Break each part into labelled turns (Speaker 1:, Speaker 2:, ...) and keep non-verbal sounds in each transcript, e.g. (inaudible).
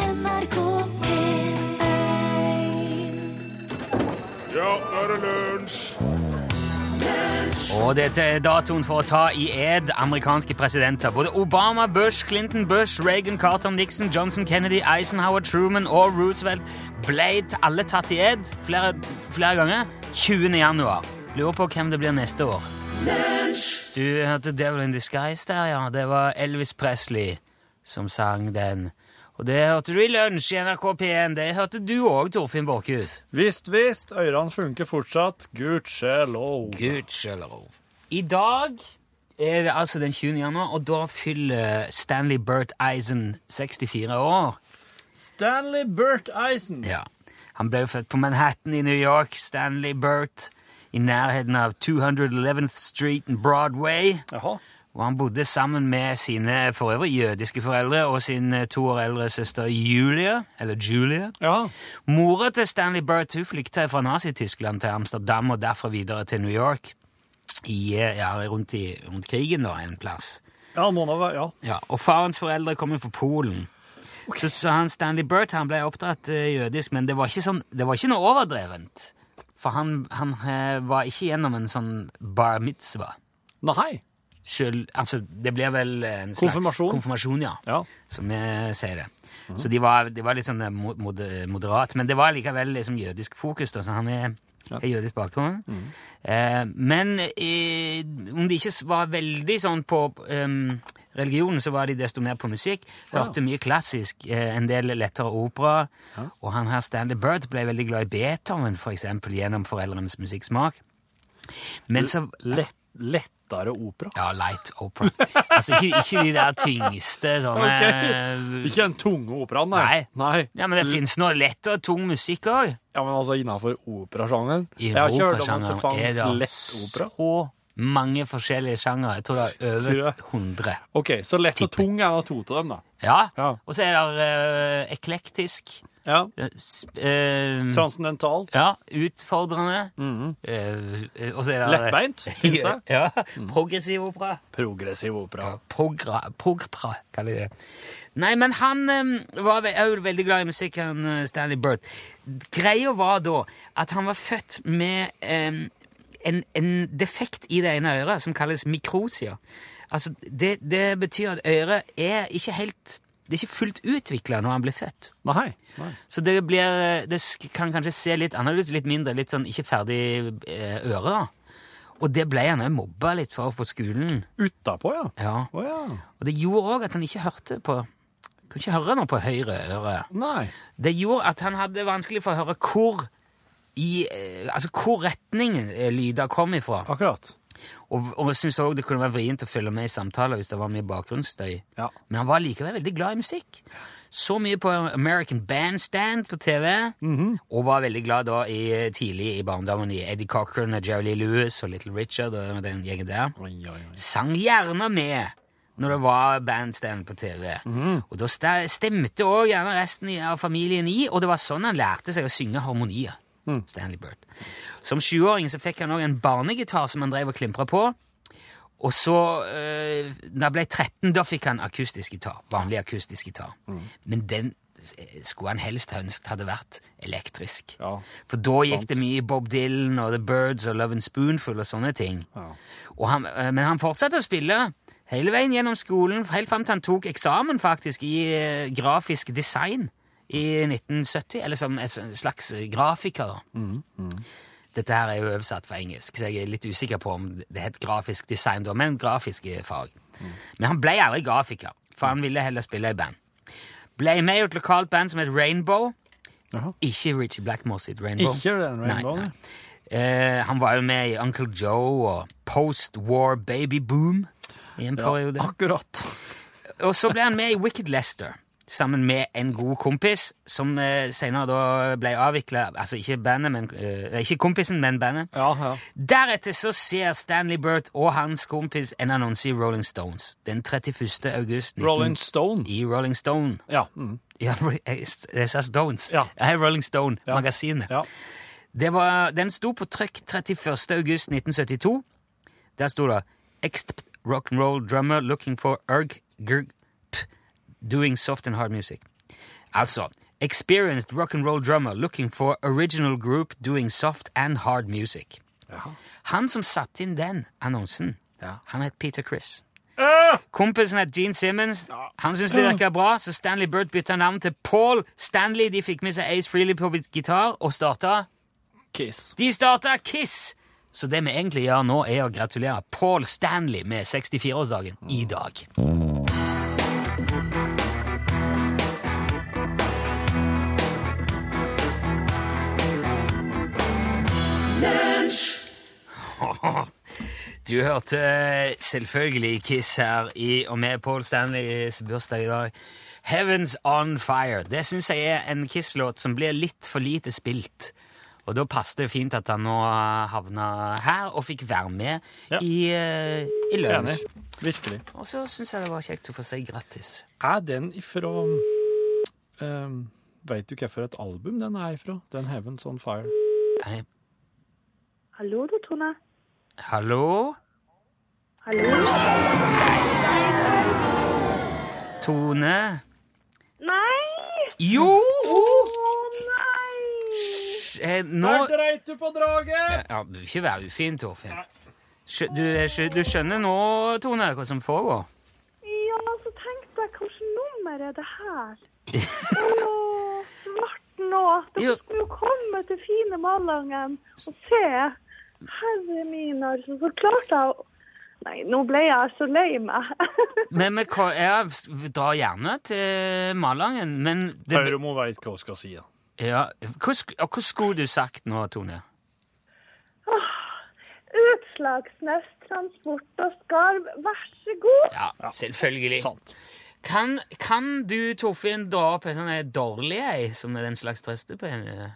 Speaker 1: NRK P1
Speaker 2: Ja, nå er det lunsj!
Speaker 3: Og dette er datoen for å ta i ed amerikanske presidenter. Både Obama, Bush, Clinton, Bush, Reagan, Carter, Nixon, Johnson, Kennedy, Eisenhower, Truman og Roosevelt ble t- alle tatt i ed flere, flere ganger 20. januar. Lurer på hvem det blir neste år. Du hørte Devil in Disguise der, ja. Det var Elvis Presley som sang den. Og det hørte du i lunsj i NRK P1. Det hørte du òg, Torfinn Borchhus.
Speaker 4: Visst, visst, ørene funker fortsatt. Gudskjelov.
Speaker 3: Gudskjelov. I dag er det altså den 20. januar, og da fyller Stanley Burt Eisen 64 år.
Speaker 4: Stanley Burt Eisen.
Speaker 3: Ja. Han ble jo født på Manhattan i New York, Stanley Burt, i nærheten av 211th Street and Broadway.
Speaker 4: Jaha.
Speaker 3: Og han bodde sammen med sine for øvrig jødiske foreldre og sin eh, to år eldre søster Julia, eller Julia.
Speaker 4: Ja.
Speaker 3: Mora til Stanley Burt hun flykta fra Nazi-Tyskland til Amsterdam og derfra videre til New York. I, eh, ja, rundt, i, rundt krigen, da, en plass.
Speaker 4: Ja, må nå være, ja.
Speaker 3: Ja, og farens foreldre kom jo fra Polen. Så, så han Stanley Burt han ble oppdratt eh, jødisk, men det var ikke, sånn, det var ikke noe overdrevent. For han, han eh, var ikke gjennom en sånn bar mitzvah.
Speaker 4: Nei.
Speaker 3: Selv, altså, det blir vel en slags
Speaker 4: Konfirmasjon?
Speaker 3: konfirmasjon ja.
Speaker 4: Ja.
Speaker 3: Som jeg sier det. Så de var, de var litt sånn eh, mod- mod- moderat, men det var likevel liksom jødisk fokus. Da, så han er, er jødisk bakgrunn. Eh, men eh, om de ikke s- var veldig sånn på ehm, religionen, så var de desto mer på musikk. Hørte mye klassisk, eh, en del lettere opera. Og han her Stanley Bird ble veldig glad i Beethoven, for eksempel, gjennom foreldrenes musikksmak. Men så
Speaker 4: Lett, lettere opera.
Speaker 3: ja, light opera. Altså ikke, ikke de der tyngste sånne eh,
Speaker 4: Ok. Ikke den tunge operaen,
Speaker 3: Nei.
Speaker 4: Nei.
Speaker 3: Ja, men det fins noe lett og tung musikk òg.
Speaker 4: Ja, men altså innenfor operasjangeren.
Speaker 3: I
Speaker 4: Jeg har ikke hørt om at det
Speaker 3: operasjangeren er
Speaker 4: fantes
Speaker 3: det
Speaker 4: lett opera.
Speaker 3: så mange forskjellige sjangere. Jeg tror det er
Speaker 4: Sier du
Speaker 3: over
Speaker 4: det?
Speaker 3: 100.
Speaker 4: Ok, så lett og
Speaker 3: Tipper.
Speaker 4: tung er da to av dem, da.
Speaker 3: Ja.
Speaker 4: Ja.
Speaker 3: Og så er det eh, eklektisk
Speaker 4: Ja.
Speaker 3: eh, s- eh,
Speaker 4: Sånn. Transcendental.
Speaker 3: Ja, utfordrende. Eh, og så er det
Speaker 4: Mm-hmm.
Speaker 3: (laughs)
Speaker 4: Lettbeint, finnes det.
Speaker 3: Ja. Progressiv opera.
Speaker 4: Progressiv opera.
Speaker 3: Progra, progra, kaller de det. Nei, men han eh, var ve også veldig glad i musikk, han eh, Stanley Burt. Greia var da at han var født med eh, en, en defekt i det ene øret som kalles mikrosia. Altså, det, det betyr at øret er ikke helt Det er ikke fullt utvikla når han blir født.
Speaker 4: Nei. Nei.
Speaker 3: Så det, blir, eh, det sk- kan kanskje se litt annerledes, litt mindre, litt sånn ikke ferdig eh, øre, da. Og det ble han òg mobba litt for på skolen.
Speaker 4: Utapå, ja.
Speaker 3: Ja.
Speaker 4: Å ja.
Speaker 3: Og det gjorde òg at han ikke hørte på Kunne ikke høre noe på høyre øre.
Speaker 4: Nei.
Speaker 3: Det gjorde at han hadde vanskelig for å høre hvor i, eh, altså hvor retningen eh, lyder kom ifra.
Speaker 4: Akkurat.
Speaker 3: Og, og jeg syntes òg det kunne være vrient å følge med i samtaler hvis det var mye bakgrunnsstøy.
Speaker 4: Ja.
Speaker 3: Men han var likevel veldig glad i musikk. Så mye på American Bandstand på TV, og var veldig glad da i, eh, tidlig i barndommen i Eddie Cochran og Jerry Lee Lewis og Little Richard og den gjengen der
Speaker 4: Oi, oi, oi.
Speaker 3: sang gjerne med når det var bandstand på TV. Og da sta- stemte òg gjerne resten i- av familien i, og det var sånn han lærte seg å synge harmonier. Stanley Burt. Som sjuåring så fikk han òg en barnegitar som han drev og klimpra på. Og så, eh, da han ble 13, da fikk han akustisk gitar. Vanlig akustisk gitar.
Speaker 4: Mm.
Speaker 3: Men den eh, skulle han helst ha ønsket hadde vært elektrisk.
Speaker 4: Ja.
Speaker 3: For da gikk det mye i Bob Dylan og The Birds og Love and Spoonful og sånne ting.
Speaker 4: Ja.
Speaker 3: Og han, eh, men han fortsatte å spille hele veien gjennom skolen, helt fram til han tok eksamen faktisk i eh, grafisk design i 1970, eller som et sånn slags eh, grafiker. da. Dette her er jo oversatt fra engelsk, så jeg er litt usikker på om det het grafisk design da, men grafiske fag. Men han ble aldri grafiker, for han ville heller spille i band. Ble med i et lokalt band som het Rainbow.
Speaker 4: Jaha.
Speaker 3: Ikke Richie Blackmore sitt Rainbow.
Speaker 4: Ikke den rainbowen.
Speaker 3: Nei, nei. Eh, han var jo med i Uncle Joe og Post War Baby Boom i en periode.
Speaker 4: Akkurat.
Speaker 3: Og så ble han med i Wicked Lester sammen med en god kompis, som eh, senere da ble avvikla Altså ikke bandet, men eh, Ikke kompisen, men bandet.
Speaker 4: Ja, ja.
Speaker 3: Deretter så ser Stanley Burt og hans kompis en annonse i Rolling Stones den 31. august 19
Speaker 4: Rolling Stone.
Speaker 3: i Rolling Stone.
Speaker 4: Ja. Mm.
Speaker 3: Ja, (laughs) jeg sa Stones.
Speaker 4: Ja.
Speaker 3: Jeg er Rolling Stone-magasinet.
Speaker 4: ja.
Speaker 3: Det var, den sto på trykk 31. august 1972. Der sto det Ext rock'n'roll drummer looking for erg grg p doing soft and hard music. Altså Experienced rock'n'roll drummer looking for original group doing soft and hard music. Han som satte inn den annonsen, han het Peter Chris. Kompisen het Gene Simmons. Han syntes det virka bra, så Stanley Bird bytta navn til Paul Stanley. De fikk med seg Ace Freely på gitar og starta
Speaker 1: Kiss.
Speaker 3: De starta Kiss! Så det vi egentlig gjør nå, er å gratulere Paul Stanley med 64-årsdagen i dag. Du hørte eh, selvfølgelig Kiss her i og med Paul Stanleys bursdag i dag. Heavens On Fire. Det syns jeg er en Kiss-låt som blir litt for lite spilt. Og da passet det fint at han nå havna her og fikk være med
Speaker 4: Ja.
Speaker 3: i, eh, i
Speaker 4: Enig.
Speaker 3: lunsj.
Speaker 4: Virkelig.
Speaker 3: Og så syns jeg det var kjekt å få si grattis.
Speaker 4: Er den ifra um, Veit du hvilket et album den er ifra? Den Heavens On Fire.
Speaker 3: Er det-
Speaker 5: Hallo, du, Tone.
Speaker 3: Hallo?
Speaker 5: Hallo.
Speaker 3: Tone?
Speaker 5: Nei!
Speaker 3: Jo!
Speaker 5: Å nei!
Speaker 3: Hysj, eh, Nå
Speaker 4: dreit du på draget!
Speaker 3: Ja, du vil ikke være ufin, Torfinn. Skjø- Du, er skjø- du skjønner nå, Tone, hva som foregår?
Speaker 5: Ja, så altså, tenk deg, hvilket nummer er det her? Å, svart nå!
Speaker 3: Jo.
Speaker 5: Dere skulle jo komme til fine Malangen og se. Herre min, altså. Så klart jeg å- Nei, nå ble jeg så lei meg. (laughs)
Speaker 3: Men vi kan- jeg s- drar gjerne til Malangen, men
Speaker 4: Hør
Speaker 3: det,
Speaker 4: om hun veit hva hun skal si. ja.
Speaker 3: ja, hva, sk- ja, hva skulle du sagt nå, Tone?
Speaker 5: Utslagsnes transport og skarv, vær så god.
Speaker 3: Ja, selvfølgelig.
Speaker 4: Sant.
Speaker 3: Kan, kan du, Torfinn, dra opp en sånn dårlig ei, som er den slags trøstepremie?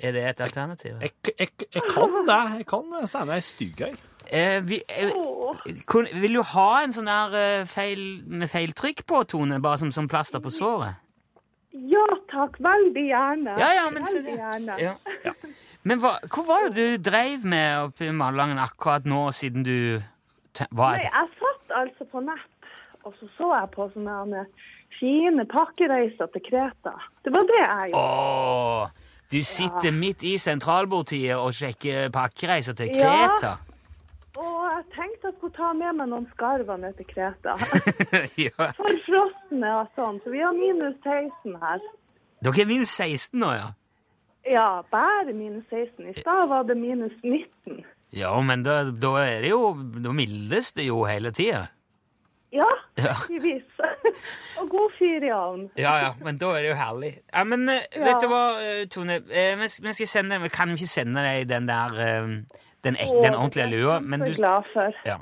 Speaker 3: Er det et alternativ?
Speaker 4: Jeg, jeg, jeg kan det. Jeg kan eh, sende ei stygg ei.
Speaker 3: Eh, vi, eh,
Speaker 5: Å,
Speaker 3: kun, vil du ha en sånn der eh, feil, med feil trykk på, Tone, bare som, som plaster på såret?
Speaker 5: ja takk, veldig gjerne.
Speaker 3: Ja, ja, men se
Speaker 5: veldig
Speaker 3: det.
Speaker 5: gjerne.
Speaker 3: Ja. Men hva, hva var det du dreiv med oppe i Malangen akkurat nå, siden du te- var
Speaker 5: Nei,
Speaker 3: et
Speaker 5: jeg satt altså på nett, og så så jeg på sånne herne fine pakkereiser til Kreta. Det var det jeg gjorde.
Speaker 3: Åh, Du sitter midt i sentralbordtiet og sjekker pakkereiser til Kreta? (laughs)
Speaker 5: Og jeg tenkte jeg skulle ta med meg noen skarver ned til Kreta.
Speaker 3: ja.
Speaker 5: For frosne og sånn, så vi har minus 16 her.
Speaker 3: Dere er minst 16 nå, ja?
Speaker 5: Ja, bare minus 16. I stad var det minus 19.
Speaker 3: Ja, men da, da er det jo Da mildes det jo hele tida.
Speaker 5: Ja,
Speaker 3: Ja.
Speaker 5: heldigvis. (laughs) og god fyr i ovnen.
Speaker 3: Ja, ja, men da er det jo herlig. Ja, Men eh, vet
Speaker 5: Ja.
Speaker 3: du hva, eh, Tone? Eh, Vi sk- vi skal sende, vi kan jo ikke sende deg den der eh, Den, ek, den ordentlige lua, men du
Speaker 5: Jeg er glad for.
Speaker 3: Ja.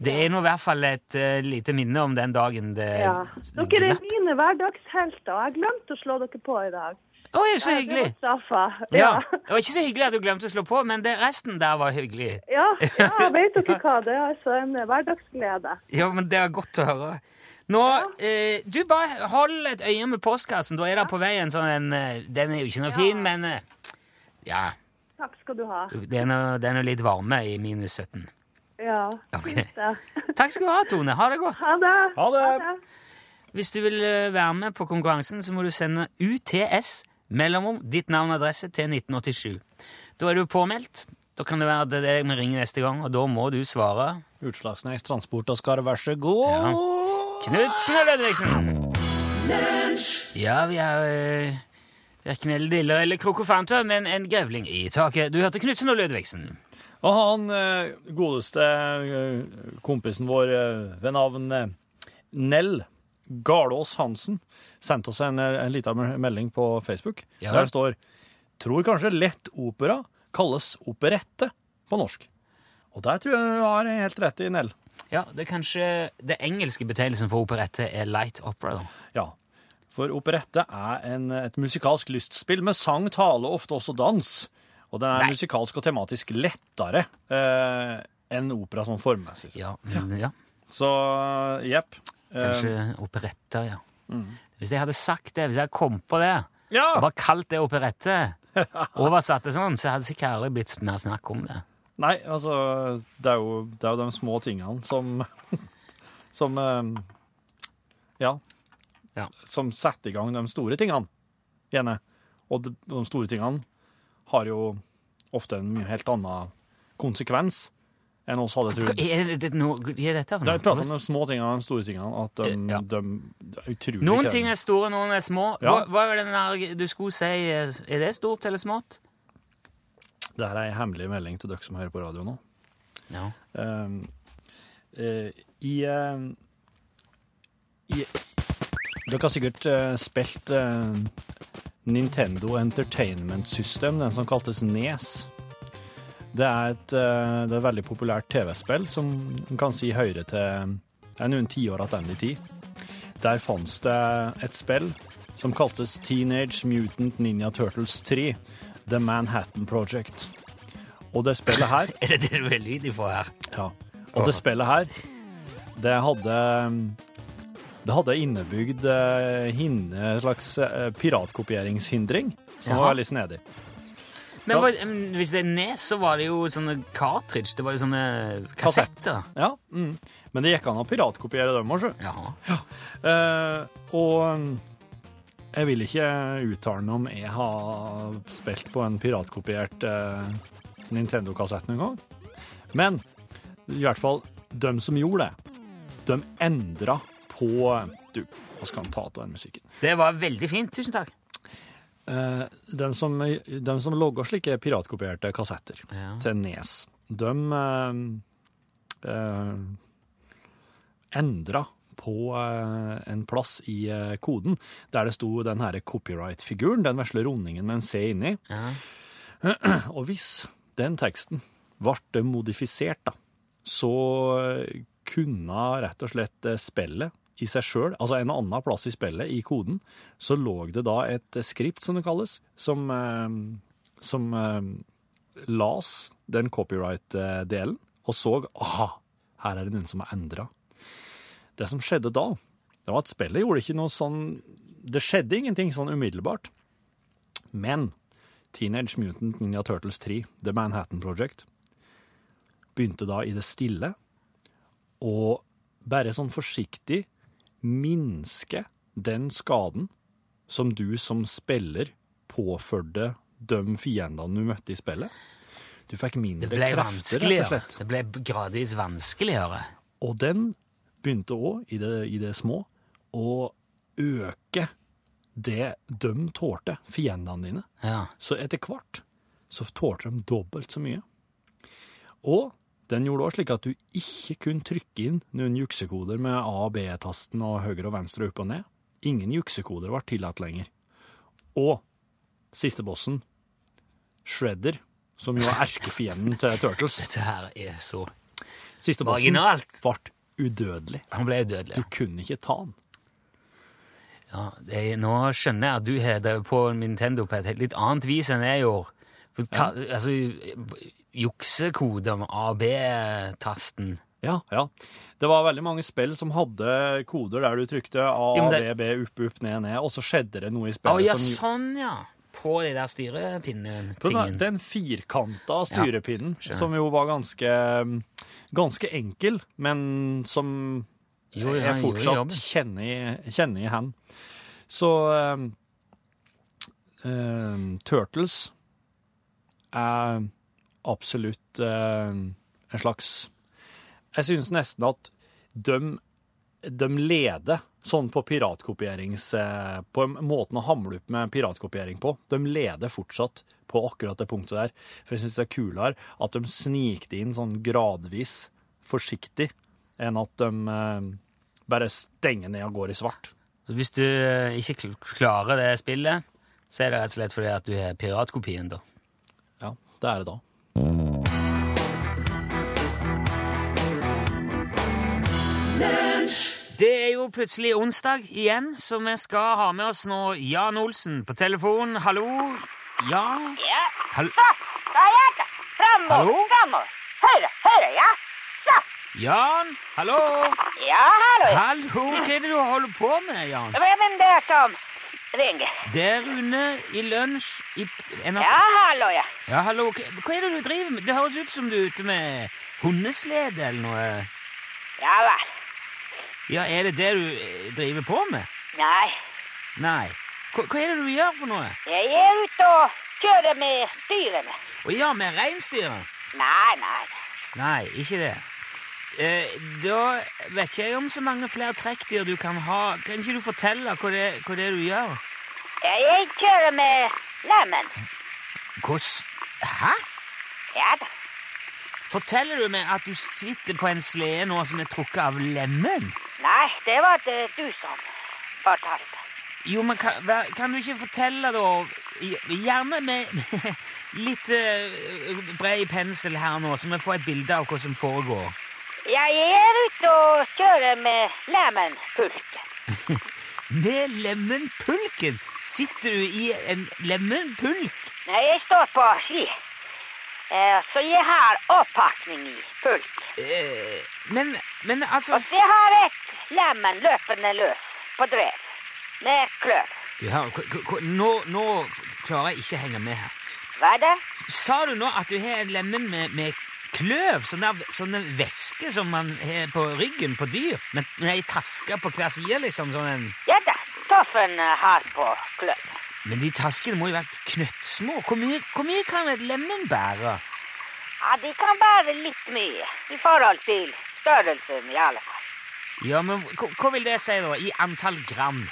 Speaker 3: Det er nå i hvert fall et eh, lite minne om den dagen det
Speaker 5: Ja. Dere er mine hverdagshelter, og jeg glemte å slå dere på i dag.
Speaker 3: Å, ja, så hyggelig!
Speaker 5: Jeg ble straffa.
Speaker 3: Ja. Det var ikke så hyggelig at du glemte å slå på, men det, resten der var hyggelig. (laughs)
Speaker 5: Ja, ja vet dere hva? Det er altså en hverdagsglede.
Speaker 3: Ja, men det er godt å høre. Nå, eh, Du, bare hold et øye med postkassen. Da er det på vei en sånn en eh, Den er jo ikke noe fin, men eh, Ja.
Speaker 5: Takk skal du ha.
Speaker 3: Det er nå- det er nå litt varme i minus 17.
Speaker 5: Ja,
Speaker 3: Ok.
Speaker 5: fint det.
Speaker 3: (laughs) Takk skal du ha, Tone. Ha det godt.
Speaker 5: Ha det.
Speaker 4: Ha det.
Speaker 3: Hvis du vil eh, være med på konkurransen, så må du sende UTS mellomom ditt navn og adresse til 1987. Da er du påmeldt. Da kan det være at det er deg vi ringer neste gang, og da må du svare
Speaker 4: Utslagsnes transport og skarv, vær så god.
Speaker 3: Knutsen og Ludvigsen. Ja, vi er eh, verken eller diller eller krokofanter, men en grevling i taket. Du hørte Knutsen og Ludvigsen.
Speaker 4: Og han eh, godeste eh, kompisen vår eh, ved navn eh, Nell Garlås Hansen sendte oss en, eh, en liten me- melding på Facebook.
Speaker 3: Ja.
Speaker 4: Der det står Tror kanskje lettopera kalles operette på norsk. Og der tror jeg du har helt rett i, Nell.
Speaker 3: Ja, det er kanskje det engelske betegnelsen for operette er light opera. da.
Speaker 4: Ja. For operette er en, et musikalsk lystspill med sang, tale og ofte også dans. Og den er
Speaker 3: Nei.
Speaker 4: musikalsk og tematisk lettere eh, enn opera sånn formmessig.
Speaker 3: Ja, men, ja.
Speaker 4: Så jepp. Eh,
Speaker 3: Kanskje
Speaker 4: Ehm.
Speaker 3: operetter, ja. Hvis jeg hadde sagt det, hvis jeg kom på det,
Speaker 4: Mm. ja!
Speaker 3: og bare kalt det operette,
Speaker 4: (laughs)
Speaker 3: oversatt det sånn, så hadde det sikkert aldri blitt mer snakk om det.
Speaker 4: Nei, altså det er, jo, det er jo de små tingene som (laughs) Som eh, Ja.
Speaker 3: Ja.
Speaker 4: Som setter i gang de store tingene. gjerne. Og de, de store tingene har jo ofte en mye helt annen konsekvens enn oss hadde
Speaker 3: Hva
Speaker 4: trodd.
Speaker 3: er det, noe, hva er dette for
Speaker 4: Det er pratet om
Speaker 3: noe?
Speaker 4: de små tingene og de store tingene, at de,
Speaker 3: Ja.
Speaker 4: de, de er utrolig
Speaker 3: Noen
Speaker 4: krevende.
Speaker 3: ting er store, noen er små. Hva,
Speaker 4: Ja.
Speaker 3: hva er det den der, du skulle si eh, Er det stort eller smått?
Speaker 4: Dette er en hemmelig melding til dere som hører på radio nå.
Speaker 3: Ja.
Speaker 4: Ehm, eh, I ehm, i- Dere har sikkert eh, spilt eh, Nintendo Entertainment System, den som kaltes NES. Det er et, eh, det er et veldig populært TV-spill som en kan si høyre til det er noen tiår tilbake i tid. Der fantes det et spill som kaltes Teenage Mutant Ninja Turtles 3, The Manhattan Project. Og det spillet her
Speaker 3: Er det det du er lyd ifra her?
Speaker 4: ja. Og det spillet her, det hadde Det hadde innebygd eh, hin- en slags eh, piratkopieringshindring, som var
Speaker 3: Jaha.
Speaker 4: veldig snedig.
Speaker 3: Men
Speaker 4: Ja.
Speaker 3: hva, em, hvis det er nes, så var det jo sånne cartridge. Det var jo sånne kassetter.
Speaker 4: Ja, mm. Men det gikk an å piratkopiere dem òg, sjø.
Speaker 3: Jaha.
Speaker 4: Eh, og mm, jeg vil ikke uttale meg om jeg har spilt på en piratkopiert eh, Nintendo-kassett noen gang. Men i hvert fall, de som gjorde det, de endra på Du, hva skal han ta av den musikken?
Speaker 3: Det var veldig fint. Tusen takk.
Speaker 4: Eh, de som, de som logger slike piratkopierte kassetter
Speaker 3: Ja.
Speaker 4: til Nes, de eh, eh, endra på eh, en plass i eh, koden der det sto den her copyright-figuren, den vesle rundingen med en C inni.
Speaker 3: Ja.
Speaker 4: Og hvis den teksten ble modifisert, da, så eh, kunne rett og slett eh, spillet i seg sjøl, altså en annen plass i spillet, i koden, så lå det da et eh, skript, som det kalles, som, eh, som eh, las den copyright-delen, og så aha, her er det noen som har endra. Det som skjedde da, det var at spillet gjorde ikke noe sånn Det skjedde ingenting sånn umiddelbart. Men Teenage Mutant Ninja Turtles 3, The Manhattan Project, begynte da i det stille å bare sånn forsiktig minske den skaden som du som spiller påførte de fiendene du møtte i spillet. Du fikk mindre
Speaker 3: Det ble
Speaker 4: krefter, rett og
Speaker 3: vanskeligere.
Speaker 4: slett.
Speaker 3: Det ble gradvis vanskeligere.
Speaker 4: Og den begynte òg, i, det- i det små, å øke det de tålte, fiendene dine.
Speaker 3: Ja.
Speaker 4: Så etter hvert så tålte de dobbelt så mye. Og den gjorde også slik at du ikke kunne trykke inn noen juksekoder med A- og B-tasten og høyre og venstre opp og ned. Ingen juksekoder var tillatt lenger. Og siste bossen, Shredder, som jo er erkefienden til
Speaker 3: (laughs)
Speaker 4: Turtles,
Speaker 3: Dette her er så
Speaker 4: siste bossen
Speaker 3: marginalt.
Speaker 4: ble udødelig.
Speaker 3: Han ble
Speaker 4: Du
Speaker 3: dødelig.
Speaker 4: kunne ikke ta han.
Speaker 3: Ja, jeg, nå skjønner jeg at du har drevet på Nintendo på et helt litt annet vis enn jeg gjorde. For ta, altså, juksekoder med AB-tasten.
Speaker 4: Ja, ja. Det var veldig mange spill som hadde koder der du trykte A,
Speaker 3: Jo, men
Speaker 4: B,
Speaker 3: det-
Speaker 4: B, opp, opp, ned, ned, og så skjedde det noe i
Speaker 3: Å
Speaker 4: spillet
Speaker 3: ja,
Speaker 4: som gj-
Speaker 3: sånn ja. På de der
Speaker 4: Den, er-
Speaker 3: styrepinnetingen.
Speaker 4: den firkanta styrepinnen,
Speaker 3: skjønner.
Speaker 4: som jo var ganske, mm, ganske enkel, men som
Speaker 3: Jo, ja,
Speaker 4: jeg
Speaker 3: han gjorde
Speaker 4: fortsatt
Speaker 3: jobben.
Speaker 4: kjenner i- kjenner i hand. Så ehm, ehm, Turtles er absolutt ehm, en slags Jeg syns nesten at de, de leder sånn på piratkopierings... eh, På måten å hamle opp med piratkopiering på. De leder fortsatt på akkurat det punktet der. For jeg syns det er kulere at de snikte inn sånn gradvis, forsiktig, enn at de eh, bare stenger ned og går i svart.
Speaker 3: Så hvis du eh, ikke kl- klarer det spillet, så er det rett og slett fordi at du har piratkopien, da.
Speaker 4: Ja, det er det da.
Speaker 3: Det er jo plutselig onsdag igjen, så vi skal ha med oss nå Jan Olsen på telefon. Hallo? Ja?
Speaker 1: Ja.
Speaker 3: Hall-
Speaker 1: Så, da er jeg klar. Fremover,
Speaker 3: Hallo?
Speaker 1: fremover. Høyre, høyre, ja. Så,
Speaker 3: Jan? Hallo?
Speaker 1: ja, hallo. ja.
Speaker 3: Hallo, hva er det du holder på med, Jan?
Speaker 1: Hvem er det som ringer?
Speaker 3: Det er Rune i lunsj i p- NRK.
Speaker 1: Ja, hallo, ja.
Speaker 3: Ja, hallo. Hva hva er det du driver med? Det høres ut som du er ute med hundeslede eller noe.
Speaker 1: Ja vel.
Speaker 3: Ja, er det det du eh, driver på med?
Speaker 1: Nei,
Speaker 3: Nei. Hva, hva er det du gjør for noe?
Speaker 1: Jeg er ute og kjører med dyrene.
Speaker 3: Å ja, med reinsdyret?
Speaker 1: Nei, nei.
Speaker 3: Nei, ikke det. Eh, da vet ikke jeg om så mange flere trekkdyr du kan ha. Kan ikke du fortelle hva det, hva det er du gjør?
Speaker 1: Jeg kjører med lemmen.
Speaker 3: Hvordan Hæ?
Speaker 1: Ja da.
Speaker 3: Forteller du meg at du sitter på en slede nå som er trukket av lemen?
Speaker 1: Nei, det var det du som fortalte.
Speaker 3: Jo, men kan, hva- kan du ikke fortelle, da Gjerne med litt eh, bred pensel her nå, så vi får et bilde av hva som foregår.
Speaker 1: Jeg er ute og kjører med lemmen fullt.
Speaker 3: Med lemenpulken? Sitter du i en lemenpulk?
Speaker 1: Nei, jeg står på ski. Eh, Så jeg har oppakning i fullt.
Speaker 3: Eh, men, men altså
Speaker 1: Og så jeg har et lemen løpende løs på drev med klør.
Speaker 3: ja, hva- hva- hva- nå, nå klarer jeg ikke å henge med her.
Speaker 1: Hva er det?
Speaker 3: Sa du nå at du har en lemen med, med kløv? Sånn der- sånn en væske som man har på ryggen på dyr? Med, med ei taske på hver side, liksom? sånn en...
Speaker 1: Ja da, Toffen eh, har på klør.
Speaker 3: Men de taskene må jo være knøttsmå. Hvor mye, hvor mye kan et lemen bære?
Speaker 1: Ja, de kan være litt mye i forhold til størrelsen i alle fall.
Speaker 3: Ja, men hva, hva vil det si, da? I antall gram?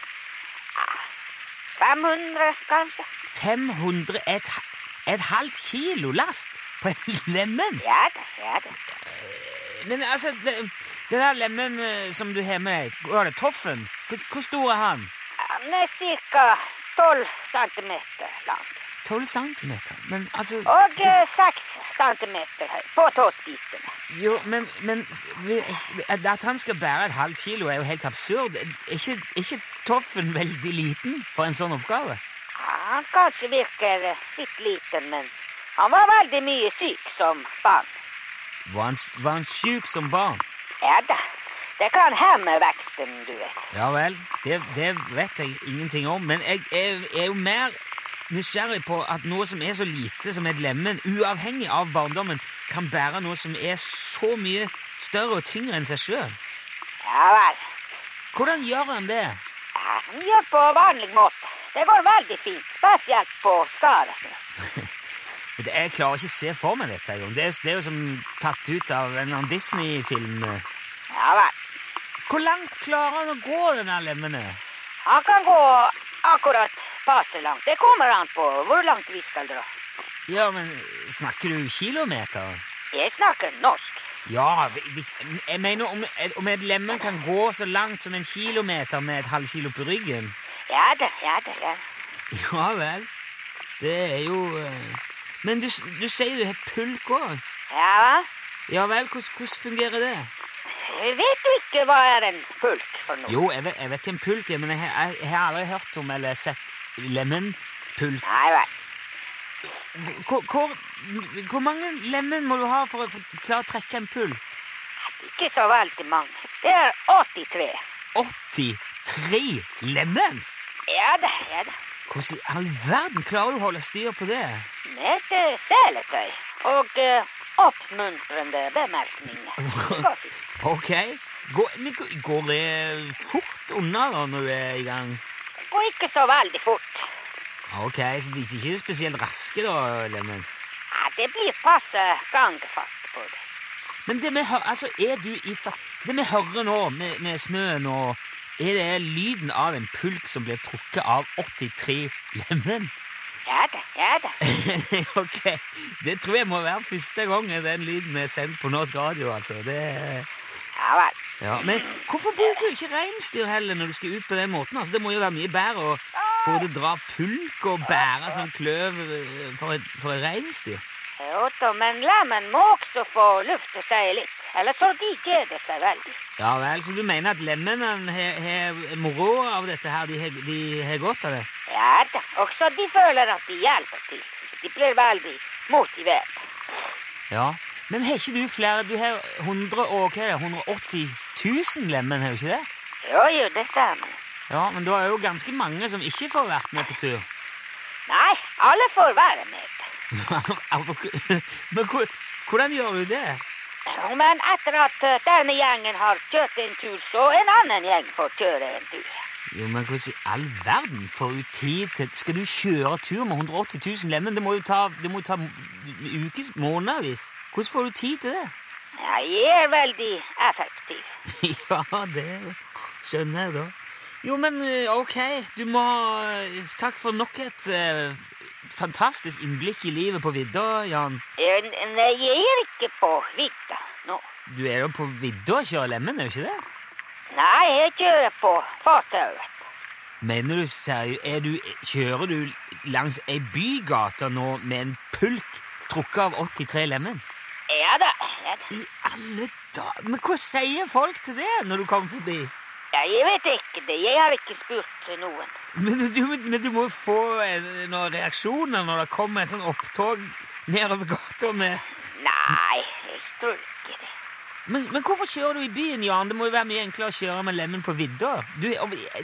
Speaker 1: 500 kanskje?
Speaker 3: 500 et, et halvt kilo last på en (laughs) lemen?
Speaker 1: Ja da, ja da.
Speaker 3: Men altså, det, det der lemen eh, som du har med deg, hva er det, Toffen? Hvor, hvor stor er han?
Speaker 1: Han er ca. 12 cm lang
Speaker 3: 12 centimeter. Men altså
Speaker 1: og
Speaker 3: det-
Speaker 1: eh, 6 cm høy på tåspissene.
Speaker 3: Jo, men, men s- vi- At at han skal bære et halvt kilo, er jo helt absurd. Er ikke, er ikke Toffen veldig liten for en sånn oppgave?
Speaker 1: Ja, han kanskje virker eh, litt liten, men han var veldig mye syk som barn.
Speaker 3: Var han, var han syk som barn?
Speaker 1: Ja da. Det kan hemme veksten, du vet.
Speaker 3: Ja vel, det, det vet jeg ingenting om, men jeg, jeg, er jo mer nysgjerrig på at noe som er så lite som et lemen, uavhengig av barndommen, kan bære noe som er så mye større og tyngre enn seg sjøl.
Speaker 1: Ja vel.
Speaker 3: Hvordan gjør han det?
Speaker 1: Ja, han gjør på vanlig måte. Det går veldig fint, spesielt på skaret.
Speaker 3: For det- Jeg klarer ikke å se for meg dette. engang. Det, er jo- det er jo som tatt ut av en eller annen Disney-film.
Speaker 1: Ja vel.
Speaker 3: Hvor langt klarer han å gå, denne lemmen?
Speaker 1: Han kan gå akkurat passe langt. Det kommer an på hvor langt vi skal dra.
Speaker 3: Ja, men snakker du kilometer?
Speaker 1: Jeg snakker norsk.
Speaker 3: Ja, vi- vi- jeg mener om, om et lemen kan gå så langt som en kilometer med et halvkilo på ryggen.
Speaker 1: Ja da, ja da, ja.
Speaker 3: Ja vel. Det er jo eh, Men du, s- du sier du har pulk òg.
Speaker 1: Ja hva?
Speaker 3: Ja vel, hvordan, hvordan fungerer det?
Speaker 1: Vet du ikke hva er en pulk for noe?
Speaker 3: Jo, jeg vet, jeg vet hva en pulk er, men jeg, har- jeg, jeg har aldri hørt om eller sett lemenpulk.
Speaker 1: Nei vel.
Speaker 3: Hvor, hvor, hvor mange lemen må du ha for å for å klare å trekke en pulk?
Speaker 1: Ikke så veldig mange. Det er 83.
Speaker 3: 83 lemen?
Speaker 1: Ja da, ja da.
Speaker 3: Hvordan i all verden klarer du å holde styr på det?
Speaker 1: Med eh, seletøy og eh, oppmuntrende bemerkninger. Godt.
Speaker 3: Ok. Går, men g- går det fort unna da når du er i gang?
Speaker 1: Gå ikke så veldig fort.
Speaker 3: Ok, så de er ikke spesielt raske da, Lemen.
Speaker 1: Ja, det blir passe gangfart på det.
Speaker 3: Men det vi hører, altså er du i fa... Det vi hører nå med, med snøen og Er det lyden av en pulk som blir trukket av 83 lemen?
Speaker 1: Ja da, ja da.
Speaker 3: (laughs) ok, det tror jeg må være første gang den lyden er sendt på norsk radio, altså. Det...
Speaker 1: Ja vel.
Speaker 3: Ja, men hvorfor bruker du ikke reinsdyr heller når du skal ut på den måten? Altså, det må jo være mye bedre å både dra pulk og bære sånn kløv eh, for et, for et reinsdyr.
Speaker 1: Jo da, men lemmen må også få lufte seg litt. Ellers så de kjeder seg veldig.
Speaker 3: Ja vel, så du mener at lemmene har- har moro av dette her? De har- De har godt av det?
Speaker 1: Ja da. Også de føler at de hjelper til. De blir veldig motivert.
Speaker 3: Ja. Men har ikke du flere? Du har 100 og hva er det, 180 000 lemen, har du ikke det?
Speaker 1: Jo jo, det stemmer.
Speaker 3: Ja, men da er jo ganske mange som ikke får vært med på tur. (laughs)
Speaker 1: Nei, alle får være med.
Speaker 3: men hvor- hvordan gjør du det?
Speaker 1: Jo, Men etter at eh, denne gjengen har kjørt en tur, så en annen gjeng får kjøre en tur.
Speaker 3: Jo, men hvordan i all verden får du tid til Skal du kjøre tur med 180 000 lemen? Det må jo ta, det må jo ta ukes, månedvis. Hvordan får du tid til det? (laughs)
Speaker 1: Ja, jeg er veldig effektiv.
Speaker 3: ja, det skjønner jeg da. Jo, men eh, ok, du må ha eh, Takk for nok et eh, fantastisk innblikk i livet på vidda, Jan.
Speaker 1: Eh, n- Nei, jeg er ikke på vidda nå.
Speaker 3: Du er jo på vidda og kjører lemen, er du ikke det?
Speaker 1: Nei, jeg kjører på fartauet.
Speaker 3: Mener du seriøst? Er du, kjører du langs ei bygate nå med en pulk trukket av 83 lemen?
Speaker 1: Ja da, ja da.
Speaker 3: I alle dager Men hva sier folk til det når du kommer forbi?
Speaker 1: Ja, jeg vet ikke det. Jeg har ikke spurt noen.
Speaker 3: Men du, men du må jo få eh, noen reaksjoner når det kommer et sånn opptog nedover gata med
Speaker 1: Nei, jeg tror ikke det.
Speaker 3: Men, men hvorfor kjører du i byen, Jan? Det må jo være mye enklere å kjøre med lemmen på vidda. Du,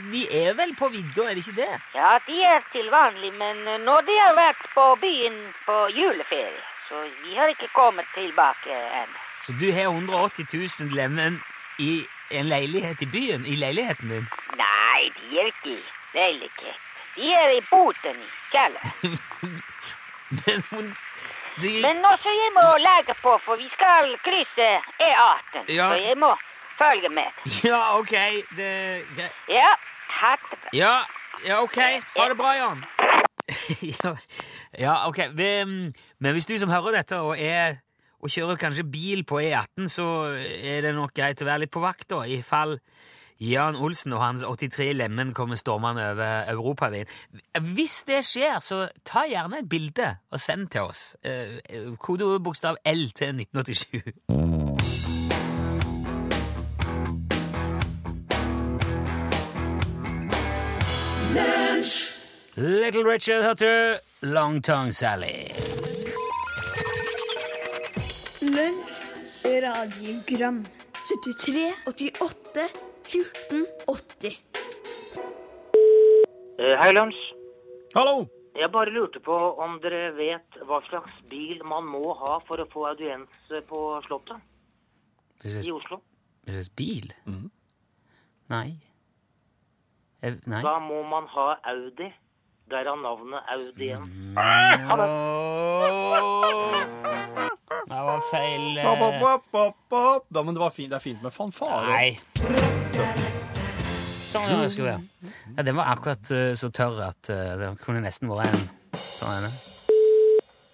Speaker 3: de er vel på vidda, er det ikke det?
Speaker 1: Ja, de er til vanlig, men eh, når de har vært på byen på juleferie, så de har ikke kommet tilbake ennå.
Speaker 3: Så du har 180 000 lemmen i en leilighet i byen? I leiligheten din? (laughs)
Speaker 1: Nei, de er ikke i leilighet. De er i boten i kjelleren.
Speaker 3: Men hun de,
Speaker 1: Men også jeg må legge på, for vi skal krysse E18,
Speaker 3: Ja.
Speaker 1: så jeg må følge med.
Speaker 3: Ja, ok. Det, ja.
Speaker 1: Ja, ha det bra.
Speaker 3: Ja, ja, ok. Ha det bra, Jan. (laughs) ja, ja, ok. Vi, mm, Men hvis du som hører dette og, er, og kjører kanskje bil på E18, så er det nok greit å være litt på vakt da, i fall Jan Olsen og hans 83 Lemmen kommer stormende over Europavien. Hvis det skjer, så ta gjerne et bilde og send til oss. Eh, eh, Kodeord bokstav L til 1987. Little Richard hørte du. Long Tongue Sally.
Speaker 6: Lunsj radiogram 73 88 14 80
Speaker 7: Eh, Hei, Lunsj.
Speaker 4: Hallo!
Speaker 7: Jeg bare lurte på om dere vet hva slags bil man må ha for å få audiens eh, på Slottet i Oslo.
Speaker 3: Hva slags bil? Nei. Jeg, nei.
Speaker 7: Da må man ha Audi. Derav navnet Audien.
Speaker 3: Det var feil eh,
Speaker 4: Pop, pop, pop, pop, pop. Da, men det, var fint, det er fint med fanfare.
Speaker 3: Nei. Sånn ja, det skulle være. Ja, den var akkurat eh, så tørr at eh, det kunne nesten vært en sånn en.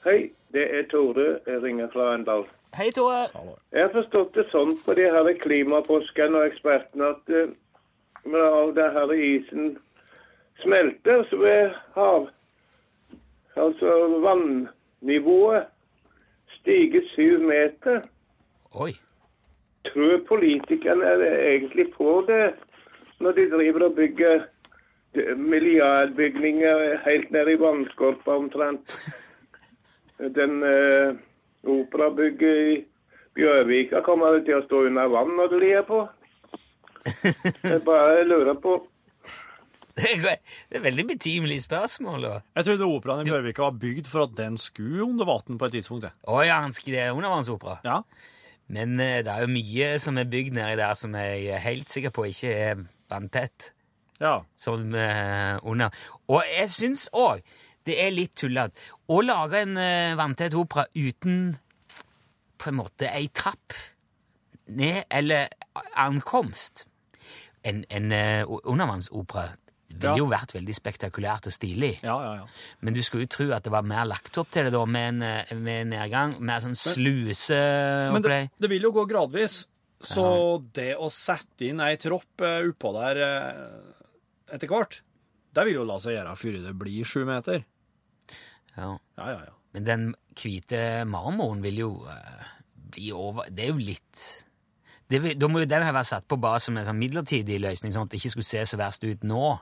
Speaker 8: Hei, det er Tore. Jeg ringer fra Arendal.
Speaker 3: Hei, Tore.
Speaker 8: Jeg har forstått det sånn på de her klimaforskerne og ekspertene at eh, når all den her isen smelter, så vil hav... Altså vannnivået stige syv meter.
Speaker 3: Oi. (laughs)
Speaker 8: Tror politikerne er egentlig på det når de driver og bygger milliardbygninger helt ned i vannskorpa omtrent? Den eh, operabygget i Bjørvika kommer det til å stå under vann når du lir på. Jeg bare lurer på
Speaker 3: Det er go- det er veldig betimelig spørsmål. da.
Speaker 4: Jeg trodde operaen i Bjørvika var bygd for at den skulle under vann på et tidspunkt. jeg.
Speaker 3: Oi, han skrev det er undervannsopera.
Speaker 4: Ja.
Speaker 3: Men eh, det er jo mye som er bygd nedi der som jeg er helt sikker på ikke er vanntett.
Speaker 4: ja.
Speaker 3: som eh, under. Og jeg syns òg det er litt tullete å lage en eh, vanntett opera uten på en måte ei trapp ned, eller ankomst. En, en eh, o- undervannsopera ville
Speaker 4: Ja.
Speaker 3: jo vært veldig spektakulært og stilig.
Speaker 4: Ja, ja, ja.
Speaker 3: Men du skulle jo tro at det var mer lagt opp til det da, med, en, eh, med nedgang. Mer sånn sluse
Speaker 4: Men det,
Speaker 3: opplegg.
Speaker 4: det vil jo gå gradvis. Så det å sette inn ei tropp eh, oppå der eh, etter hvert, det vil jo la seg gjøre før det blir sju meter.
Speaker 3: Ja.
Speaker 4: Ja, ja, ja.
Speaker 3: Men den hvite marmoren vil jo eh, bli over Det er jo litt det vil, Da må jo den her være satt på bare som en sånn midlertidig løsning, sånn at det ikke skulle se så verst ut nå.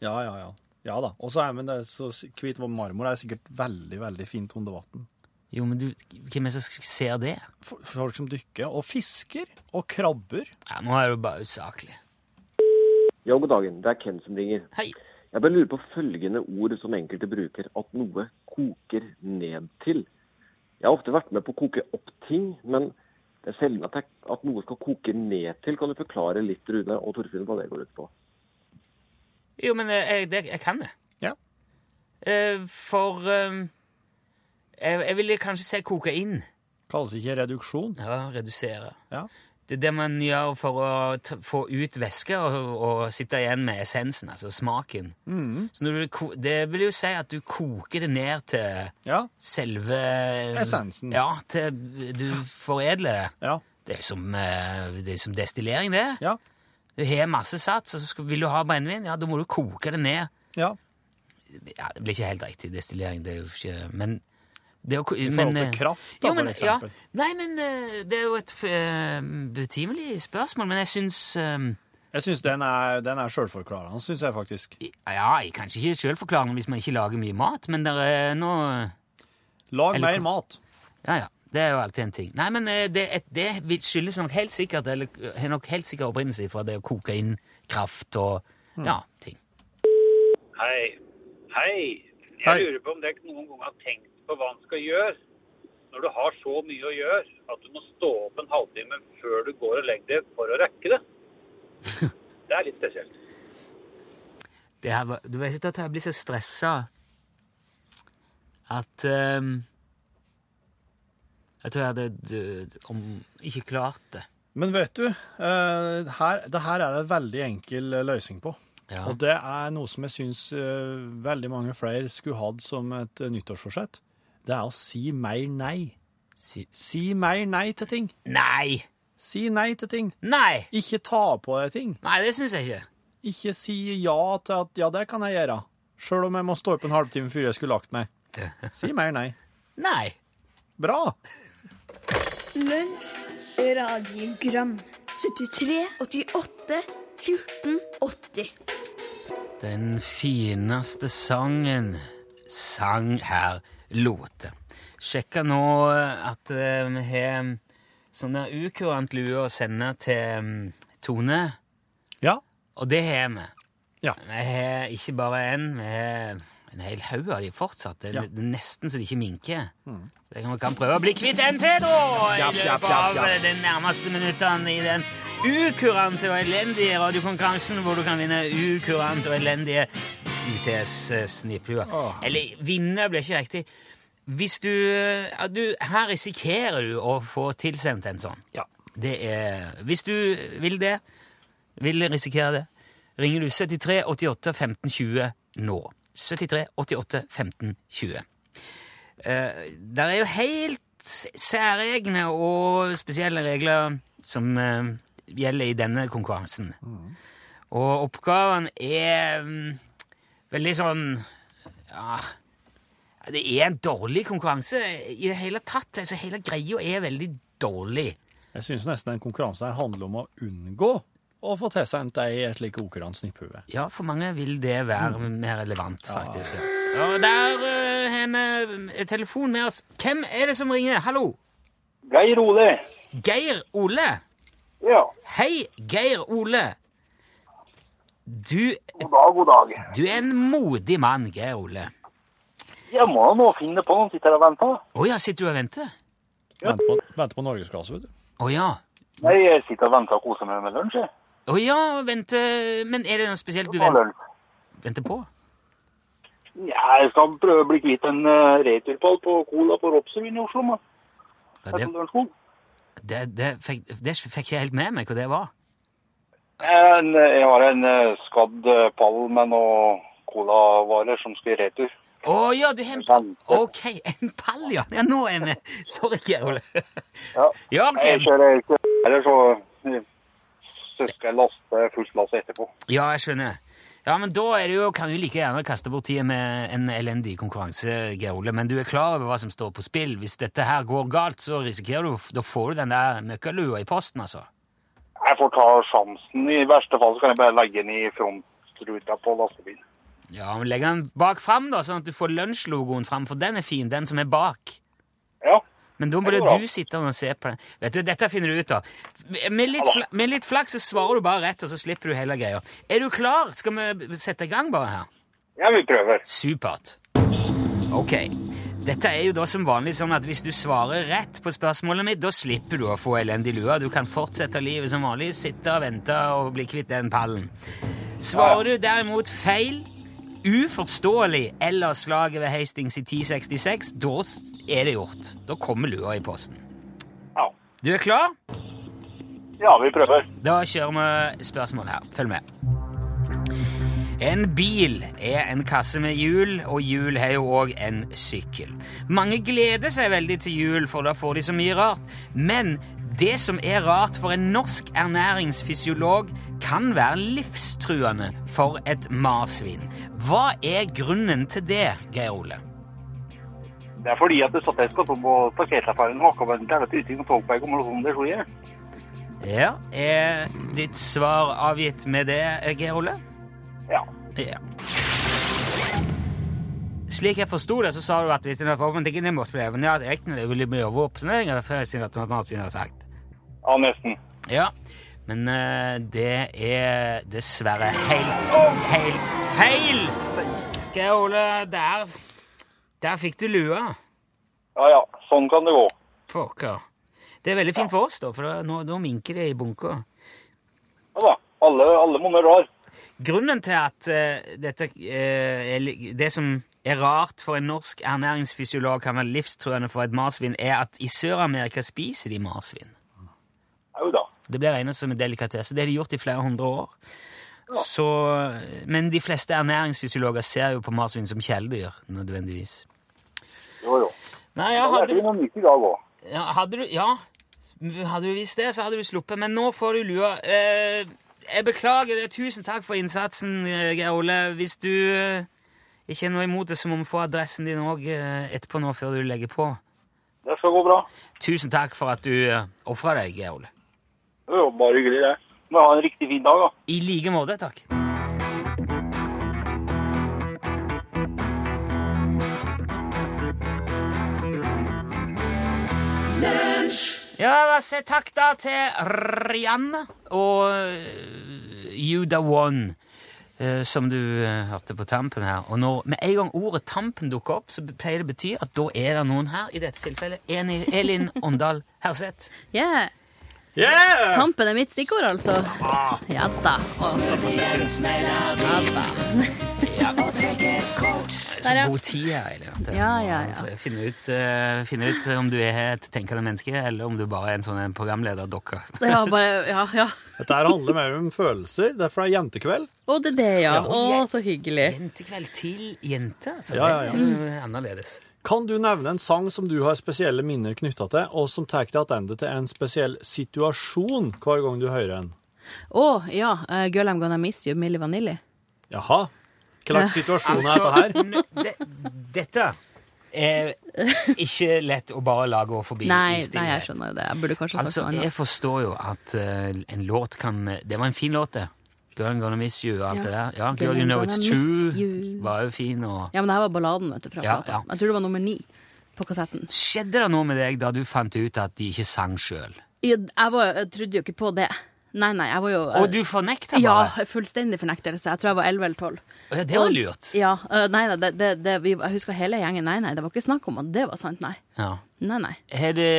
Speaker 4: Ja, ja, ja. Ja da. Og så er men det er så s- hvit marmor er sikkert veldig, veldig fint under vann.
Speaker 3: Jo, men du, hvem er det som ser det?
Speaker 4: For, for folk som dykker, og fisker, og krabber.
Speaker 3: Ja, nå er det jo bare usaklig.
Speaker 9: Ja, god dagen. Det er Ken som ringer.
Speaker 3: Hei.
Speaker 9: Jeg bare lurer på følgende ord som enkelte bruker, at noe koker ned til. Jeg har ofte vært med på å koke opp ting, men det er sjelden at, jeg- at noe skal koke ned til. Kan du forklare litt, Rune og Torfinn, hva det går ut på?
Speaker 3: Jo, men eh, jeg, det, jeg kan det.
Speaker 4: Ja.
Speaker 3: Eh, For eh, jeg, jeg ville kanskje si kokain.
Speaker 4: Kalles ikke reduksjon.
Speaker 3: Ja, redusere.
Speaker 4: Ja.
Speaker 3: Det er det man gjør for å t få ut væske og, og sitte igjen med essensen, altså smaken.
Speaker 4: Mm.
Speaker 3: Så når du, ko- det vil jo si at du koker det ned til
Speaker 4: Ja.
Speaker 3: selve
Speaker 4: Essensen.
Speaker 3: Ja, til du foredler det.
Speaker 4: Ja.
Speaker 3: Det er jo som, eh, det er jo som destillering, det.
Speaker 4: Ja.
Speaker 3: Du har masse sats, og så skal, vil du ha brennevin, ja, da må du koke det ned.
Speaker 4: ja.
Speaker 3: Ja, Det blir ikke helt riktig destillering, det er jo ikke Men det å, ko-
Speaker 4: I
Speaker 3: men,
Speaker 4: forhold til
Speaker 3: eh,
Speaker 4: kraft, da,
Speaker 3: jo, men,
Speaker 4: for eksempel.
Speaker 3: Ja, nei, men eh, det er jo et eh, betimelig spørsmål, men jeg syns eh,
Speaker 4: Jeg syns den er, den er sjølforklarende, syns jeg faktisk.
Speaker 3: Ja, jeg kan ikke selv forklare det hvis man ikke lager mye mat, men det er noe
Speaker 4: Lag
Speaker 3: Eller
Speaker 4: mer
Speaker 3: kom-
Speaker 4: mat.
Speaker 3: Ja, ja. Det er jo alltid en ting. Nei, men eh, det, et- det vil- skyldes nok helt sikkert eller eh, har nok helt sikkert opprinnelse fra det å koke inn kraft og ja, ting.
Speaker 10: Hei. Hei. Jeg
Speaker 4: Hei.
Speaker 10: lurer på om dere noen gang har tenkt på hva en skal gjøre når du har så mye å gjøre at du må stå opp en halvtime før du går og legger deg for å rekke det. Det er litt spesielt.
Speaker 3: Det her var, du vet ikke at jeg blir så stressa at ehm, Jeg tror jeg hadde død, om, ikke klart det.
Speaker 4: Men vet du, eh, her, det her er det en veldig enkel eh, løsning på.
Speaker 3: Ja.
Speaker 4: Og det er noe som jeg syns eh, veldig mange flere skulle hatt som et eh, nyttårsforsett. Det er å si mer nei.
Speaker 3: Si,
Speaker 4: Si mer nei til ting.
Speaker 3: nei!
Speaker 4: Si nei til ting.
Speaker 3: Nei!
Speaker 4: Ikke ta på deg ting.
Speaker 3: Nei, det syns jeg ikke. (laughs)
Speaker 4: Ikke si ja til at 'ja, det kan jeg gjøre', sjøl om jeg må stå opp en halvtime før jeg skulle lagt meg. Si mer nei.
Speaker 3: Nei.
Speaker 4: Bra!
Speaker 6: Lunsj, radiogram 73, 88, 14, 80
Speaker 3: Den fineste sangen sang her låte. Sjekka nå eh, at eh, vi har sånn der ukurant lue å sende til mm, Tone,
Speaker 4: Ja.
Speaker 3: og det har vi.
Speaker 4: Ja.
Speaker 3: Vi har ikke bare én, vi har en hel haug av de fortsatt. Det,
Speaker 4: Ja. Mm.
Speaker 3: det er nesten så de ikke minker. Så kan vi kan prøve å bli kvitt en til, da! I
Speaker 4: Japp, japp,
Speaker 3: løpet
Speaker 4: japp,
Speaker 3: av
Speaker 4: japp.
Speaker 3: de nærmeste minuttene i den ukurante og elendige radiokonkurransen, hvor du kan vinne ukurant og elendige UTS-snipplua.
Speaker 4: Åh.
Speaker 3: Eller vinne blir ikke riktig. Hvis du, ja, du Her risikerer du å få tilsendt en sånn.
Speaker 4: Ja.
Speaker 3: Det er, hvis du vil det, vil risikere det, ringer du 73 88 15 20 nå. 73 88 15 20. Eh, der er jo helt s- særegne og spesielle regler som eh, gjelder i denne konkurransen. Og oppgaven er mm, veldig sånn Ja Det er en dårlig konkurranse i det hele tatt. Altså, hele greia er veldig dårlig.
Speaker 4: Jeg syns nesten den konkurransen her handler om å unngå å få tilsendt ei slik okerant snipphue.
Speaker 3: Ja, for mange vil det være mer relevant, faktisk. Mm. Ja. Og der eh, har vi telefon med oss. Hvem er det som ringer? Hallo?
Speaker 10: Geir Ole.
Speaker 3: Geir Ole?
Speaker 10: Ja.
Speaker 3: Hei, Geir Ole. Du,
Speaker 10: God dag, god dag.
Speaker 3: du er en modig mann, Geir Ole.
Speaker 10: Jeg må nå finne på noen sitter og venter.
Speaker 3: Å ja, sitter du og venter?
Speaker 4: Venter på, venter på norgesglass, vet du.
Speaker 3: Å ja.
Speaker 10: Nei, jeg sitter og venter og koser meg med lunsj. jeg.
Speaker 3: Å ja, venter Men er det noe spesielt du
Speaker 10: Ta
Speaker 3: venter,
Speaker 10: lunsj.
Speaker 3: venter på?
Speaker 10: Ja, jeg skal prøve å bli kvitt en uh, returpall på cola på Ropsøyen i Oslo. Man.
Speaker 3: Ja, det,
Speaker 10: Lunsjskog.
Speaker 3: det, det, fikk, det fikk jeg helt med meg hva det var.
Speaker 10: En, jeg har en eh, skadd eh, pall med noen colavarer som skal i retur.
Speaker 3: Å ja, du har en pall. OK, en pall, ja. ja. Nå er vi Sorry, Geir Ole.
Speaker 10: Ja.
Speaker 3: Ja,
Speaker 10: Jeg
Speaker 3: ok.
Speaker 10: kjører ikke eller så eh, så skal jeg laste fullt lass etterpå.
Speaker 3: ja, jeg skjønner. Ja, men Da er det jo, kan du like gjerne kaste bort tida med en elendig konkurranse, Geir Ole. Men du er klar over hva som står på spill. Hvis dette her går galt, så risikerer du Da får du den der møkkalua i posten, altså.
Speaker 10: Jeg får ta sjansen. I verste fall så kan jeg bare legge den i frontruta på lastebilen.
Speaker 3: Ja, men Legg den bak fram, da, sånn at du får lunsjlogoen fram, for den er fin, den som er bak.
Speaker 10: Ja.
Speaker 3: Men da
Speaker 10: Det
Speaker 3: burde
Speaker 10: går bra.
Speaker 3: du sitte og se på den. Vet du, Dette finner du ut av. Med litt, fla med litt flaks så svarer du bare rett, og så slipper du hele greia. Er du klar? Skal vi sette i gang bare her?
Speaker 10: Ja, vi prøver.
Speaker 3: Supert. Ok. Dette er jo da som vanlig sånn at hvis du svarer rett på spørsmålet mitt, da slipper du å få elendig lue. Du kan fortsette livet som vanlig, sitte og vente og bli kvitt den pallen. Svarer du derimot feil, uforståelig eller slaget ved Hastings i 1066, da s- er det gjort. Da kommer lua i posten.
Speaker 11: Ja.
Speaker 3: Du er klar?
Speaker 11: Ja, vi prøver.
Speaker 3: Da kjører vi spørsmål her. Følg med. En bil er en kasse med hjul, og hjul har jo òg en sykkel. Mange gleder seg veldig til jul, for da får de så mye rart. Men det som er rart for en norsk ernæringsfysiolog, kan være livstruende for et marsvin. Hva er grunnen til det, Geir Ole?
Speaker 11: Det er fordi at det satt en skatt på parkeringserfaringen og akkurat der at uting og togberg kommer noe sånt det slo igjen.
Speaker 3: Ja, er ditt svar avgitt med det, Geir Ole?
Speaker 11: Ja.
Speaker 3: ja. Slik jeg forsto det, så sa du at hvis en har forhåpentligvis en morsbrev, ja, det er ikke noe veldig mye overvåpning, for jeg sier at noe annet vi har sagt.
Speaker 11: Ja, nesten.
Speaker 3: Ja, men eh, det er dessverre helt, helt feil! Geir Ole, der, der fikk du lua.
Speaker 11: Ja, ja. Sånn kan det gå.
Speaker 3: Pokker. Det er veldig fint for oss, da, for da- nå, nå minker det i bunker.
Speaker 11: Ja da. Alle, alle monner rar.
Speaker 3: Grunnen til at eh, dette, eh, er li- det som er rart for en norsk ernæringsfysiolog kan være livstruende for et marsvin, er at i Sør-Amerika spiser de marsvin.
Speaker 11: Jo da.
Speaker 3: Det blir regnet som en delikatesse. Det har de gjort i flere hundre år. Så, eh, men de fleste ernæringsfysiologer ser jo på marsvin som kjæledyr, nødvendigvis.
Speaker 11: Jo, jo.
Speaker 3: Nei, ja,
Speaker 11: Det
Speaker 3: hadde,
Speaker 11: er
Speaker 3: du-
Speaker 11: ikke noe nytt i dag òg.
Speaker 3: ja, hadde du Ja, hadde du visst det, så hadde du sluppet. Men nå får du lua. Eh, jeg beklager det. Tusen takk for innsatsen, eh, Geir Ole. Hvis du eh, ikke er noe imot det, så må vi få adressen din òg eh, etterpå nå, før du legger på.
Speaker 11: Det skal gå bra.
Speaker 3: Tusen takk for at du eh, ofra deg, Geir Ole.
Speaker 11: Jo, jo, bare hyggelig, det. Må ha en riktig fin dag, da.
Speaker 3: I like måte, takk. Ja, hva sier takk da til Rihanna og eh, Juda One, eh, som du eh, hørte på tampen her. Og når med en gang ordet tampen dukker opp, så pleier det å bety at da er det noen her, i dette tilfellet Eni, Elin Åndal Herseth.
Speaker 12: Yeah. Tampen er mitt stikkord, altså.
Speaker 3: Ah.
Speaker 12: Ja da. Ja da.
Speaker 3: Så
Speaker 12: Der, ja.
Speaker 3: god tid her, Elin.
Speaker 12: Ja, ja, ja.
Speaker 3: Finne ut, eh, finne ut om du er et tenkende menneske, eller om du bare er en sånn en programlederdokke.
Speaker 12: Det har bare Ja, ja.
Speaker 4: Dette her handler mer om følelser. Derfor er det jentekveld.
Speaker 12: Å, det er det, ja.
Speaker 4: Ja.
Speaker 12: Å, så hyggelig.
Speaker 3: Jentekveld til jente, altså.
Speaker 4: Ja, ja, ja.
Speaker 3: Det er Annerledes.
Speaker 4: Kan du nevne en sang som du har spesielle minner knytta til, og som tar deg tilbake til en spesiell situasjon hver gang du hører den?
Speaker 12: Å, ja. eh, Girl I'm Gonna Miss You, Milli Vanilli.
Speaker 4: Jaha. Hva slags
Speaker 12: Ja.
Speaker 4: situasjon er dette
Speaker 3: Altså,
Speaker 4: her?
Speaker 3: n- det, dette er ikke lett å bare la gå forbi.
Speaker 12: Nei, nei,
Speaker 3: i stillhet.
Speaker 12: jeg skjønner jo det. Jeg burde kanskje sagt
Speaker 3: Altså,
Speaker 12: noe
Speaker 3: jeg
Speaker 12: annet.
Speaker 3: forstår jo at eh, en låt kan Det var en fin låt, det. Girl, I'm gonna miss you og alt
Speaker 12: Ja.
Speaker 3: det der. Ja,
Speaker 12: Girl,
Speaker 3: Girl, you
Speaker 12: I'm
Speaker 3: know
Speaker 12: gonna
Speaker 3: it's
Speaker 12: miss
Speaker 3: true
Speaker 12: you.
Speaker 3: var jo fin. og...
Speaker 12: Ja, men det her var balladen, vet du, fra
Speaker 3: Ja,
Speaker 12: plata.
Speaker 3: ja.
Speaker 12: Jeg tror det var nummer ni på kassetten.
Speaker 3: Skjedde det noe med deg da du fant ut at de ikke sang sjøl?
Speaker 12: Jeg, jeg, var, jeg trodde jo ikke på det. Nei, nei, jeg var jo eh,
Speaker 3: Og du fornekta
Speaker 12: Ja,
Speaker 3: bare?
Speaker 12: fullstendig fornektelse. Jeg tror jeg var 11 eller 12.
Speaker 3: Å ja, det var
Speaker 12: Og-
Speaker 3: lurt.
Speaker 12: Ja, øh, nei, nei, det, det, det, vi, jeg husker hele gjengen. Nei, nei, det var ikke snakk om at det var sant, nei.
Speaker 3: Ja.
Speaker 12: Nei, nei.
Speaker 3: Har det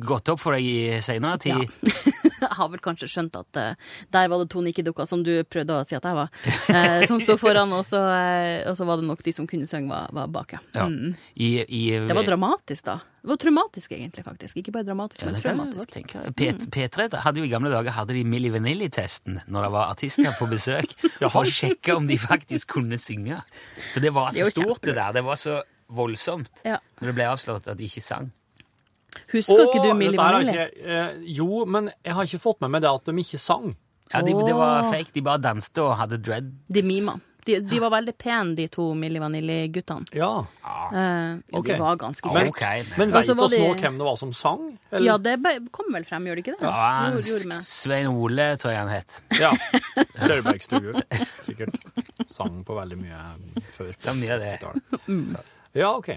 Speaker 3: gått opp for deg i seinere tid?
Speaker 12: Jeg (laughs) har vel kanskje skjønt at eh, der var det to nikkedukker som du prøvde å si at jeg var, eh, som sto foran, og så, eh, og så var det nok de som kunne synge, var, var bak, ja.
Speaker 3: Ja.
Speaker 12: Mm.
Speaker 3: I, i,
Speaker 12: Det var dramatisk, da. Det var traumatisk, egentlig, faktisk. Ikke bare dramatisk,
Speaker 3: Ja,
Speaker 12: men
Speaker 3: det kan jeg
Speaker 12: traumatisk.
Speaker 3: godt tenke. P-
Speaker 12: Mm.
Speaker 3: P3 da hadde jo i gamle dager hadde de Milli Vanilli-testen når det var artister på besøk,
Speaker 12: (laughs)
Speaker 3: for å sjekke om de faktisk kunne synge. For det var
Speaker 12: Det er
Speaker 3: så
Speaker 12: jo
Speaker 3: stort, det der. Det var så voldsomt
Speaker 12: Ja.
Speaker 3: når det ble avslått at de ikke sang.
Speaker 12: Husker ikke du Milli
Speaker 4: dette her har
Speaker 12: Vanilli?
Speaker 4: ikke- eh, jo, men jeg har ikke fått med meg det at de ikke sang.
Speaker 3: Ja, de, Det var
Speaker 12: Åh.
Speaker 3: fake. De bare danste og hadde dread.
Speaker 12: De mima. De, de var veldig pene, de to Milli Vanilli-guttene.
Speaker 4: Ja.
Speaker 12: Eh, og
Speaker 4: Ok.
Speaker 12: de var ganske
Speaker 4: Men,
Speaker 12: kjekke.
Speaker 4: men
Speaker 12: Og
Speaker 4: veit
Speaker 12: så var
Speaker 4: oss nå
Speaker 12: de-
Speaker 4: hvem det var som sang? eller?
Speaker 12: Ja, det be- kom vel frem, gjorde det ikke det?
Speaker 3: Ja,
Speaker 12: Jo, det gjorde
Speaker 3: S-
Speaker 12: det.
Speaker 3: Svein Ole, tror jeg han het.
Speaker 4: Ja. Sørbergstue. Sikkert sang på veldig mye før.
Speaker 3: Det er mye av det.
Speaker 4: (laughs) Mm. Ja, OK.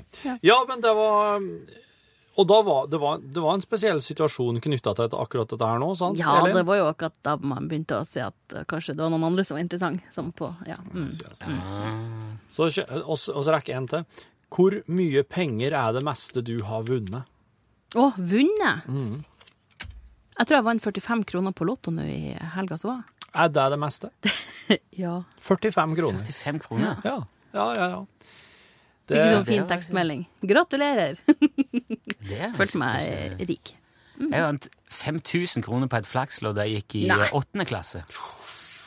Speaker 4: Ja, men det var Og da var det, var, det var en spesiell situasjon knytta til dette- akkurat dette her nå, sant?
Speaker 12: Ja,
Speaker 4: Elin?
Speaker 12: det var jo akkurat da man begynte å se at eh, kanskje det var noen andre som var interessant. Som på, ja. Mm.
Speaker 4: Så kjø- og så og så rekker jeg en til. Hvor mye penger er det meste du har vunnet? Mm.
Speaker 12: Å, vunnet! Jeg tror jeg vant 45 kroner på Lotto nå i helga så. jeg.
Speaker 4: Er det
Speaker 12: (laughs)
Speaker 4: det meste?
Speaker 1: Ja.
Speaker 4: 45 kroner.
Speaker 3: 45 kroner?
Speaker 4: Ja. ja, ja, ja.
Speaker 1: Fikk en sånn fin tekstmelding. Gratulerer! (laughs) Følte meg rik.
Speaker 3: Jeg vant 5000 kroner på et flakslodd da jeg gikk i
Speaker 1: Nei.
Speaker 3: eh, åttende klasse.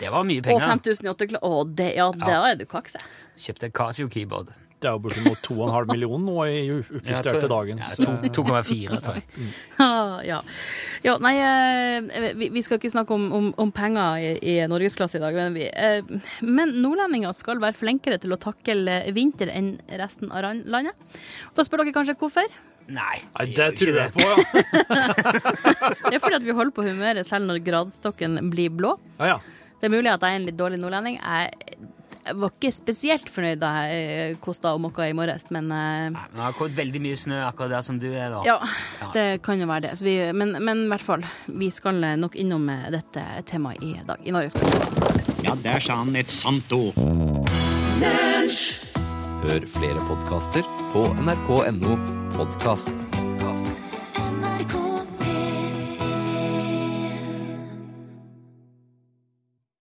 Speaker 3: Det var mye
Speaker 1: Og
Speaker 3: penger.
Speaker 1: 5000 i åtte kla- Å, det, ja, da er du kakse.
Speaker 3: Kjøpte et Casio-keyboard.
Speaker 4: Det er jo bortimot 2,5 millioner nå i oppjusterte dagens.
Speaker 3: Ja, to- 2,4, tror jeg.
Speaker 1: Ah, ja. ja. Nei, eh, vi, vi skal ikke snakke om, om, om penger i, i norgesklasse i dag, men vi. eh, Men nordlendinger skal være flinkere til å takle vinter enn resten av ran- landet. Og da spør dere kanskje hvorfor?
Speaker 3: Nei.
Speaker 4: Nei, det tror jeg på, ja.
Speaker 1: Det er fordi at vi holder på humøret selv når gradstokken blir blå.
Speaker 4: ja, ja.
Speaker 1: Det er mulig at jeg er en litt dårlig nordlending. Jeg, jeg var ikke spesielt fornøyd da jeg eh, kosta og mokka i morges, men eh,
Speaker 3: Men det har kommet veldig mye snø akkurat der som du er, da.
Speaker 1: Ja, det kan jo være det. Så vi, men, men i hvert fall, vi skal nok innom eh, dette temaet i dag i Norgesklasse.
Speaker 13: Ja, der sa han et sant ord.
Speaker 14: Hør flere podkaster på nrk.no podkast.